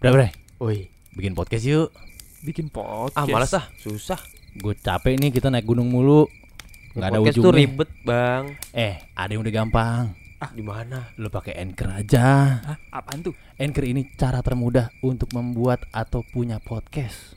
Bre, bre, Woi, bikin podcast yuk. bikin podcast. ah malas ah, susah. Gue capek nih kita naik gunung mulu. Nggak ada Podcast tuh ujungnya. ribet, Bang. Eh, ada yang udah gampang. Gimana? Lu pakai Anchor aja. Hah, Ah. apaan tuh? Anchor ini cara termudah untuk membuat atau punya podcast.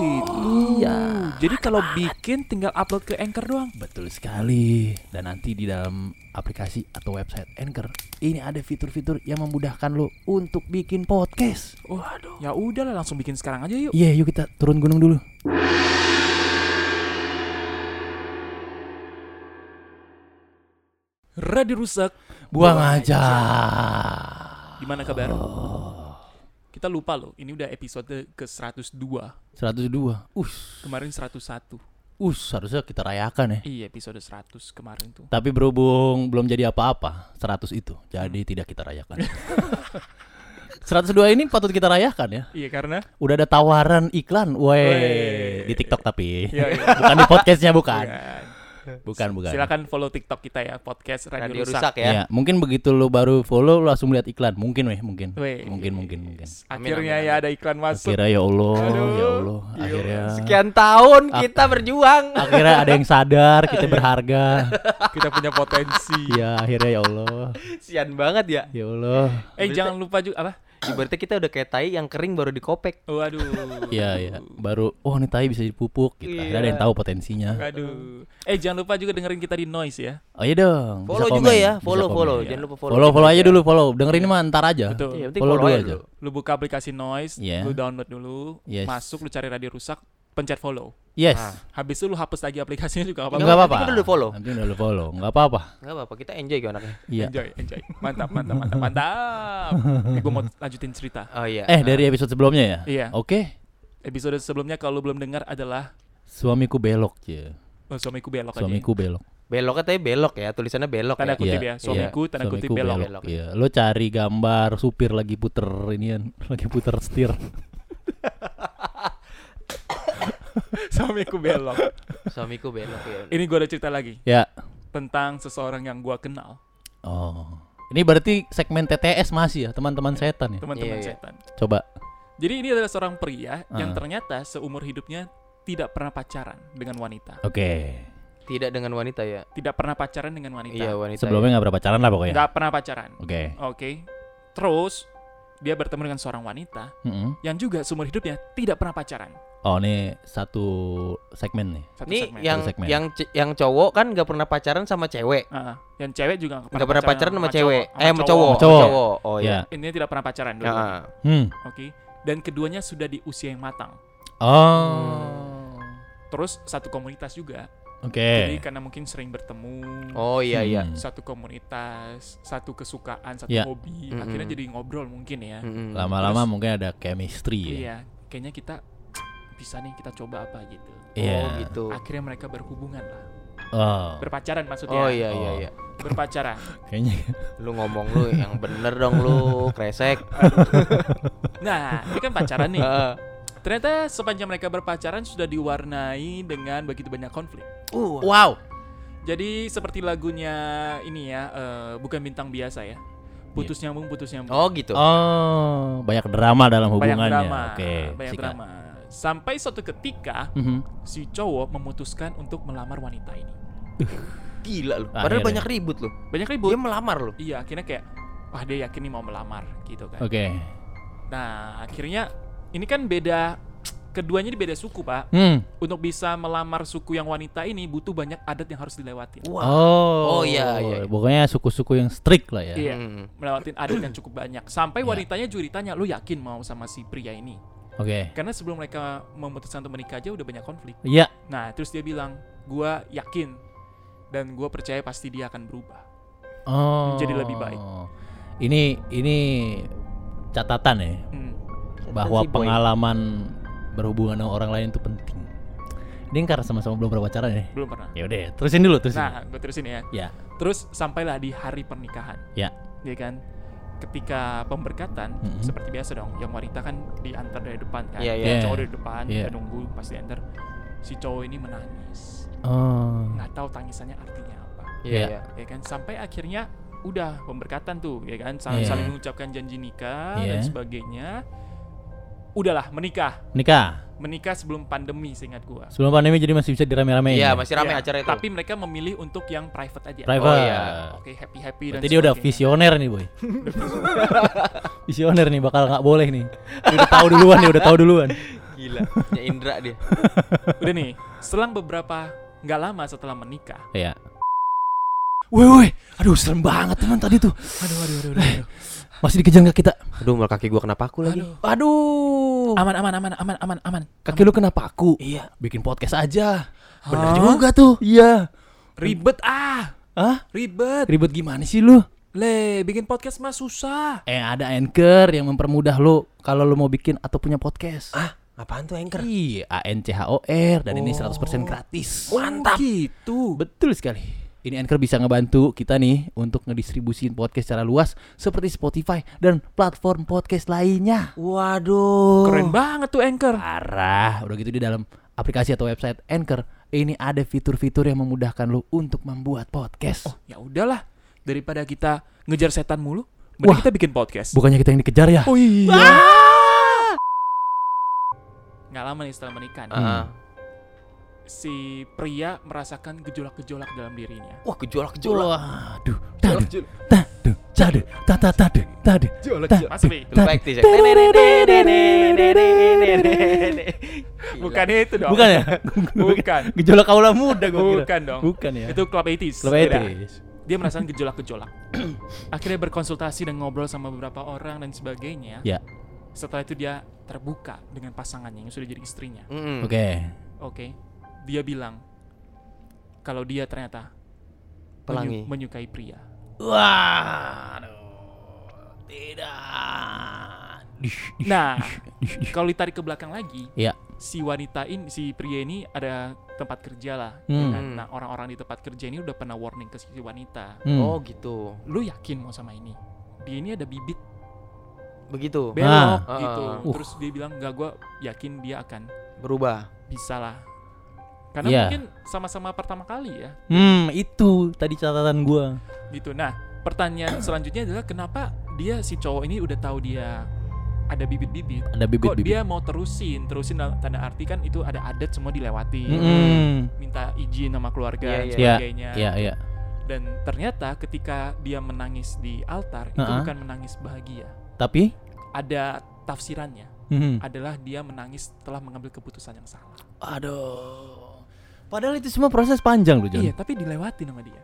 gitu. Iya. Jadi kalau bikin tinggal upload ke Anchor doang. Betul sekali. Dan nanti di dalam aplikasi atau website Anchor, ini ada fitur-fitur yang memudahkan lo untuk bikin podcast. Waduh. Ya udahlah langsung bikin sekarang aja yuk. Iya, yuk kita turun gunung dulu. Radio rusak. Buang aja. Oh. Gimana kabar? Kita lupa loh, ini udah episode ke 102. 102. Us, Kemarin 101. us harusnya kita rayakan ya. Iya, episode 100 kemarin tuh. Tapi berhubung belum jadi apa-apa 100 itu. Jadi Hmm. tidak kita rayakan. 102 ini patut kita rayakan ya. Iya, karena Udah ada tawaran iklan, Weh. weh, di TikTok tapi. Iya, iya. bukan di podcastnya bukan. Bukan. Bukan, bukan. Iya. Silakan follow TikTok kita ya, podcast Radio, Radio Rusak. rusak ya. Iya, mungkin begitu lu baru follow lu langsung lihat iklan. Mungkin weh, mungkin. Weh. iya, Mungkin mungkin mungkin. Amin, Akhirnya amin, ya ada iklan masuk. Akhirnya ya Allah, Aduh. ya Allah, akhirnya Iya, Sekian tahun Ap- kita berjuang. akhirnya ada yang sadar kita Iya. berharga. Kita punya potensi. Iya, akhirnya ya Allah. Sian banget ya. Ya Allah. Eh, jangan lupa juga apa? Ibaratnya kita udah kayak tai yang kering baru dikopek. Waduh. Iya, iya. Baru oh ini tai bisa dipupuk Iya. gitu. Akhirnya ada yang tahu potensinya. Aduh. Eh jangan lupa juga dengerin kita di Noise ya. Oh iya dong. bisa Follow komen, juga ya, bisa follow komen. follow, Iya. jangan lupa follow. ya. Follow follow aja dulu follow. Dengerin mah ntar aja. Betul. Iya, yang penting Follow follow dulu aja aja. dulu. Lu buka aplikasi Noise, Iya. lu download dulu, Yes. masuk lu cari radio rusak, pencet follow. Yes. Ah. Habis itu lu hapus lagi aplikasinya juga nggak Enggak apa-apa. apa-apa. Nanti kita dulu follow. Nanti udah lu follow. Enggak apa-apa. Enggak apa-apa, kita enjoy kok anaknya. Iya. Enjoy, enjoy. Mantap, mantap, mantap, mantap. Gue mau lanjutin cerita. Oh iya. Eh dari episode sebelumnya ya? Iya. Oke. Episode sebelumnya kalau lu belum dengar adalah Suamiku belok, ya. oh, suamiku belok Suamiku belok. Beloknya tapi belok ya, tulisannya belok aja. Tanda ya. kutip Iya, ya, suamiku tanda kutip Suamiku belok. ya. Belok. Iya. Lo cari gambar supir lagi puter inian, lagi puter setir. suamiku belok. Suamiku belok ya. Ini gue ada cerita lagi ya. tentang seseorang yang gua kenal, Oh. Ini berarti segmen TTS masih ya, teman-teman setan ya. Iya, teman-teman iya. setan. Coba. Jadi ini adalah seorang pria yang Ah. ternyata seumur hidupnya tidak pernah pacaran dengan wanita. Oke. Tidak dengan wanita ya. Tidak pernah pacaran dengan wanita. Iya, ya. wanita. Sebelumnya nggak berapa pacaran lah pokoknya. ya. Nggak pernah pacaran. Oke. Oke. Terus dia bertemu dengan seorang wanita Mm-mm. yang juga seumur hidupnya tidak pernah pacaran. Oh, ini satu segmen nih. Satu Ini segmen. yang Satu segmen. yang ce- yang cowok kan nggak pernah pacaran sama cewek. Ah, yang cewek juga nggak Nggak pernah pacaran sama cewek. cowok- Eh, sama cowok. Sama cowok. Oh iya. ya. Ini tidak pernah pacaran dulu. Nah, Hmm. Oke. Dan keduanya sudah di usia yang matang. Hmm. Oh. Terus satu komunitas juga. Oke. Jadi karena mungkin sering bertemu. Oh iya iya. Hmm. satu komunitas, satu kesukaan, satu Ya. hobi, Mm-mm. akhirnya jadi ngobrol mungkin ya. Hmm. Mm-mm. Oh, Lama-lama Terus- mungkin ada chemistry ya. Iya, kayaknya kita bisa nih kita coba apa gitu. Iya. Oh gitu. Akhirnya mereka berhubungan lah, Oh. berpacaran maksudnya. Oh iya iya Oh. iya. Berpacaran. Kayaknya Lu ngomong lu yang bener dong lu, kresek. Nah, ini kan pacaran nih. Heeh. Ternyata sepanjang mereka berpacaran sudah diwarnai dengan begitu banyak konflik. Uh. Wow. Jadi seperti lagunya ini ya, eh, bukan bintang biasa ya. Putus Iya. nyambung, putus nyambung. Oh gitu. Oh, banyak drama dalam banyak hubungannya. drama, Oke. Ah, banyak sikat. drama. Sampai suatu ketika Mhm. si cowok memutuskan untuk melamar wanita ini. Gila lu. Akhirnya. Padahal banyak ribut lu. Banyak ribut. Dia melamar lu. Iya, akhirnya kayak wah dia yakin nih mau melamar gitu kan. Oke. Nah, akhirnya ini kan beda keduanya ini beda suku, Pak. Hmm. Untuk bisa melamar suku yang wanita ini butuh banyak adat yang harus dilewatin. Wah. Oh. Oh, iya, iya, iya. Pokoknya suku-suku yang strict lah ya. Iya. Mm. Melewatin adat yang cukup banyak. Sampai Iya. wanitanya juga ditanya, "Lu yakin mau sama si pria ini?" Oke. Karena sebelum mereka memutuskan untuk menikah aja udah banyak konflik. Iya. Nah, terus dia bilang, "Gua yakin dan gua percaya pasti dia akan berubah." Oh. Menjadi lebih baik. Ini ini catatan ya Hmm. bahwa Si boy. pengalaman berhubungan dengan orang lain itu penting. Ini karena sama-sama belum berpacaran ya. Belum pernah. Ya udah, terusin dulu terusin. Nah, gue terusin ya. Ya. Terus sampailah di hari pernikahan. Ya. Iya kan? ketika pemberkatan Mhm. seperti biasa dong yang wanita kan diantar dari depan kan Iya, iya. Yang cowok Iya. dari depan Iya. kita nunggu pas diantar si cowok ini menangis Oh. Nah. nggak tahu tangisannya artinya apa Iya. iya. ya kan sampai akhirnya udah pemberkatan tuh ya kan saling Iya. saling mengucapkan janji nikah Iya. dan sebagainya udahlah menikah Nikah. menikah sebelum pandemi seingat gua Sebelum pandemi jadi masih bisa dirame-ramein. ya? Iya, masih ramai Ya, acara itu. tapi mereka memilih untuk yang private aja Private. Oh, iya. oke happy happy Iya, dan Berarti dia udah sebagainya. visioner nih, Boy. visioner nih bakal nggak boleh nih. Dia udah tahu duluan, dia udah tahu duluan. gila. Ya Indra dia. udah nih selang beberapa nggak lama setelah menikah Iya. Woi, woi. Aduh, serem banget teman tadi tuh. aduh aduh aduh, aduh, aduh. Masih dikejar nggak kita? Aduh, malah kaki gua kenapa aku lagi? Aduh. Aduh. aman aman aman aman aman aman Kaki lu kenapa aku? Iya. Bikin podcast aja. Bener juga tuh. Iya. Oh, ribet ah Hah? ribet Ribet gimana sih lu? le bikin podcast mah susah Eh ada anchor yang mempermudah lu kalau lu mau bikin atau punya podcast. Ah, apaan tuh anchor? Iya, A N C H O R dan ini 100% gratis. mantap gitu Betul sekali. Ini Anchor bisa ngebantu kita nih untuk ngedistribusin podcast secara luas seperti Spotify dan platform podcast lainnya. Oh. Waduh. keren banget tuh anchor Parah, udah gitu di dalam aplikasi atau website Anchor ini ada fitur-fitur yang memudahkan lu untuk membuat podcast. ya udahlah daripada kita ngejar setan mulu mending Wah. kita bikin podcast Bukannya kita yang dikejar ya? oh iya nggak lama nih setelah menikah nih, Ah. si pria merasakan gejolak-gejolak dalam dirinya Wah, gejolak-gejolak. Waduh, tadu, Gejolak-gejolak. tadu, tadu, tata, tadu, tadu. Gejolak-gejolak. Mas Bi, Lupa acting, Jack. Gila. bukan itu dong Bukan ya? bukan Gejolak kaula muda gua kira. bukan dong Bukan ya? itu club 80s Lebih Beda. Hmm. etis. dia merasakan gejolak-gejolak akhirnya berkonsultasi dan ngobrol sama beberapa orang dan sebagainya Ya. setelah itu dia terbuka dengan pasangannya yang sudah jadi istrinya Mm-mm. Oke. oke dia bilang kalau dia ternyata menyu- Pelangi. menyukai pria Wah. Tidak. nah kalau ditarik ke belakang lagi Ya. si wanita ini si pria ini ada tempat kerja lah ya Hmm. Mm. kan? nah orang-orang di tempat kerja ini udah pernah warning ke si wanita Oh, gitu. lu yakin mau sama ini dia ini ada bibit Begitu. Be- belok Ah. gitu Ah. Ah. Uh. terus dia bilang nggak gue yakin dia akan Berubah. bisa lah karena Iya. mungkin sama-sama pertama kali ya Hmm, itu tadi catatan gua. gitu nah pertanyaan selanjutnya adalah kenapa dia si cowok ini udah tahu dia ada bibit-bibit Ada kok bibit-bibit. dia mau terusin terusin dalam tanda arti kan itu ada adat semua dilewati Hmm. Mm-mm. minta izin sama keluarga Iya, dan iya. sebagainya Iya, iya. dan ternyata ketika dia menangis di altar itu Uh-uh. bukan menangis bahagia Tapi ada tafsirannya Hmm. Mhm. adalah dia menangis telah mengambil keputusan yang salah aduh. Padahal itu semua proses panjang loh, Jon. iya tapi dilewati sama dia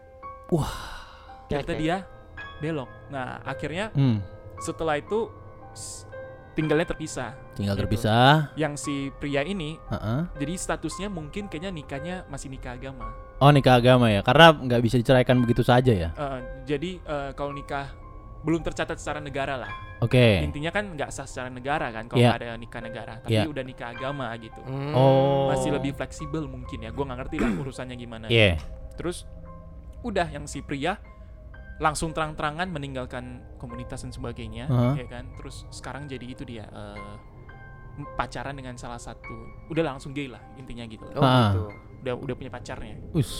ternyata dia belok nah akhirnya Hmm, setelah itu s- tinggalnya terpisah tinggal Gitu. terpisah. yang si pria ini Heeh. jadi statusnya mungkin kayaknya nikahnya masih nikah agama Oh, nikah agama ya. Karena nggak bisa diceraikan begitu saja ya. Eh, jadi eh, kalau nikah belum tercatat secara negara lah Oke. intinya kan nggak sah secara negara kan kalau Iya. nggak ada nikah negara tapi Iya. udah nikah agama gitu Mm. Oh. masih lebih fleksibel mungkin ya gue nggak ngerti lah urusannya gimana Iya. terus udah yang si pria langsung terang-terangan meninggalkan komunitas dan sebagainya Heeh. ya kan terus sekarang jadi itu dia eh, pacaran dengan salah satu udah langsung gay lah intinya gitu Oh, Ah. gitu. udah udah punya pacarnya Us.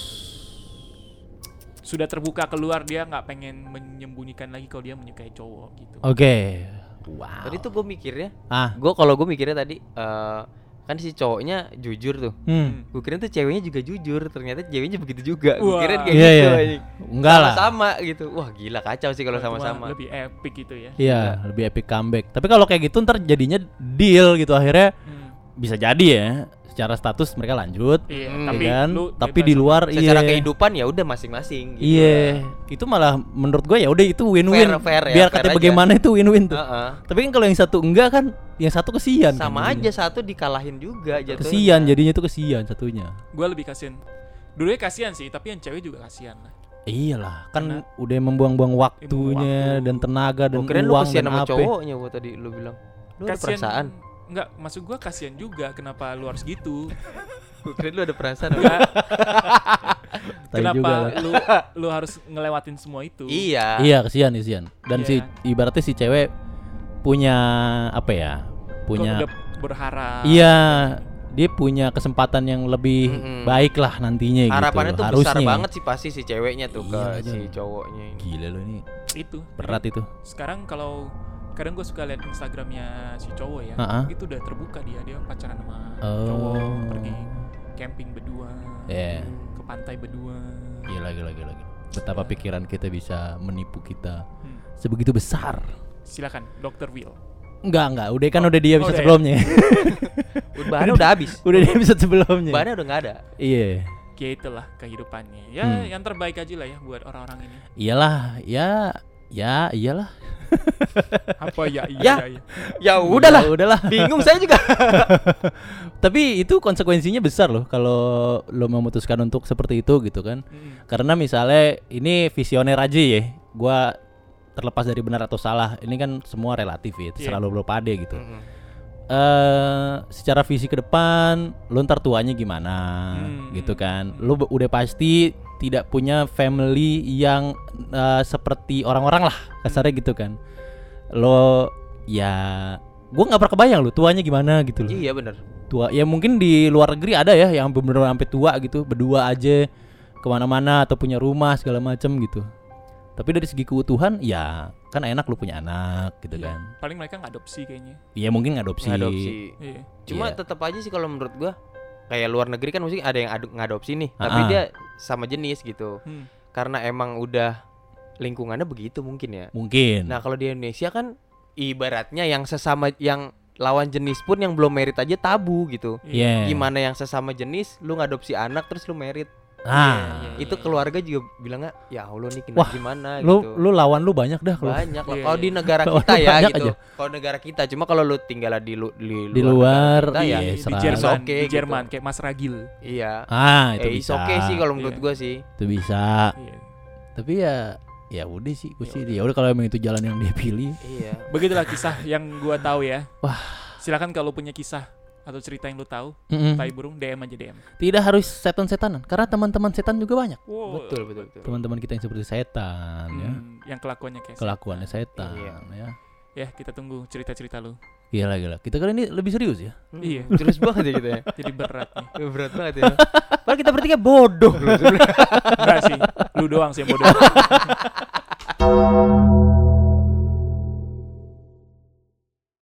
sudah terbuka keluar dia nggak pengen menyembunyikan lagi kalau dia menyukai cowok gitu Oh. Oke. Wow. Tadi tuh gue mikirnya, Ah. gue kalau gue mikirnya tadi eh, kan si cowoknya jujur tuh. Hmm. Gue kira tuh ceweknya juga jujur, ternyata ceweknya begitu juga. Gue Wah. kira kayak Iya, gitu. iya. anjing. Enggak lah. Sama gitu. Wah, gila kacau sih kalau Cuma sama-sama. lebih epic gitu ya Iya, lebih epic comeback. Tapi kalau kayak gitu ntar jadinya deal gitu akhirnya Hmm. bisa jadi ya. Secara status mereka lanjut, iya Hmm. tapi tapi kan? lu tapi bebas di luar Secara iya. kehidupan ya udah masing-masing gitu. Iya, itu malah menurut gue ya udah itu win-win. Fair, fair ya, Biar fair katanya aja. bagaimana itu win-win tuh. Heeh. Tapi kan kalau yang satu enggak kan, yang satu kesian. kan Sama jadinya. aja satu dikalahin juga jatuhnya. Kesian jadinya tuh kesian satunya. gue lebih kasihan dulunya kasihan sih tapi yang cewek juga kasihan lah Iyalah, kan Karena- udah membuang-buang waktunya waktu. dan tenaga dan Gue kira lu uang kesian dan sama apa. cowoknya gua tadi lu bilang. Lu ada perasaan. Enggak, maksud gua kasihan juga kenapa lu harus gitu. Gue kira lu ada perasaan. Enggak. Tai juga Kenapa lah. lu lu harus ngelewatin semua itu? Iya. Iya, kesian kesian. Dan Iya. si ibaratnya si cewek punya apa ya? Gua Punya udah berharap. Iya, dia punya kesempatan yang lebih Mm-mm. baik lah nantinya Harapannya gitu. tuh besar Harusnya. banget sih pasti si ceweknya tuh Iya, ke si Jon. cowoknya ini. Gila lu ini Itu. berat itu. Sekarang kalau kadang gue suka lihat Instagramnya si cowok ya, Ha-ha. itu udah terbuka dia dia pacaran sama Oh. cowok pergi camping berdua, Iya. ke pantai berdua. Gila gila gila. gila. Betapa Iya. pikiran kita bisa menipu kita Hmm. sebegitu besar. Silakan, Dokter Will. Enggak enggak, udah kan udah dia Oh, bisa udah ya? sebelumnya. Bahannya udah habis. udah dia bisa sebelumnya. Bahannya udah nggak ada. Iya. Ya itulah kehidupannya. Ya Hmm. yang terbaik aja lah ya buat orang-orang ini. Iyalah, ya ya iyalah. Apa ya Ya. iya iya. Ya udahlah. Ya udahlah. Bingung saya juga. Tapi itu konsekuensinya besar loh kalau lo memutuskan untuk seperti itu gitu kan. Mm. Karena misalnya ini visioner aja ya, gua terlepas dari benar atau salah, ini kan semua relatif ya, Iya. selalu belum pade gitu. Eh secara visi ke depan, lu ntar tuanya gimana Hmm. gitu kan. Lu be- udah pasti tidak punya family yang eh, seperti orang-orang lah, kasarnya gitu kan. Lo ya gua nggak pernah kebayang lu tuanya gimana gitu loh Iya bener. tua ya mungkin di luar negeri ada ya yang bener-bener sampai tua gitu berdua aja kemana-mana atau punya rumah segala macem gitu tapi dari segi keutuhan ya kan enak lu punya anak gitu Iya. kan Paling mereka ngadopsi kayaknya. ya mungkin ngadopsi, Ngadopsi. Iya. Cuma Iya. tetap aja sih kalau menurut gua kayak luar negeri kan mesti ada yang adu- ngadopsi nih, tapi Ah. dia sama jenis gitu. Hmm. Karena emang udah lingkungannya begitu mungkin ya. mungkin Nah, kalau di Indonesia kan ibaratnya yang sesama yang lawan jenis pun yang belum merit aja tabu gitu. Iya. Iya. Gimana yang sesama jenis lu ngadopsi anak terus lu merit. ah Iya, iya, Itu iya. keluarga juga bilangnya ya Allah nih kena Wah, gimana lu gitu. lu lawan lu banyak dah kalau banyak lah Iya, kalau iya. di negara Lawan kita ya banyak gitu. aja. Kalau negara kita cuma kalau lu tinggal di lu- di luar, di luar negara kita iya, ya. Di- di serah. Jerman, Oke, di gitu. Jerman kayak Mas Ragil. Iya. ah itu Eh, it's bisa okay sih kalau menurut Iya. gua sih. itu bisa Ah. Iya. tapi ya ya udah sih gue Ya sih ya udah kalau emang itu jalan yang dia pilih Iya. Begitulah kisah yang gua tahu ya. Wah. Silakan kalau punya kisah atau cerita yang lu tahu, Hmm. Mm-mm. tai burung DM aja DM. tidak harus setan-setanan karena teman-teman setan juga banyak Wow. Betul, betul, betul. teman-teman kita yang seperti setan ya Hmm, yang kelakuannya kayak kelakuannya setan Iya. ya ya kita tunggu cerita-cerita lu gila gila kita kali ini lebih serius ya Hmm, Iya. Terus banget ya gitu ya. jadi berat nih Berat banget ya. Padahal kita bertiga bodoh loh sebenarnya. enggak sih lu doang sih yang bodoh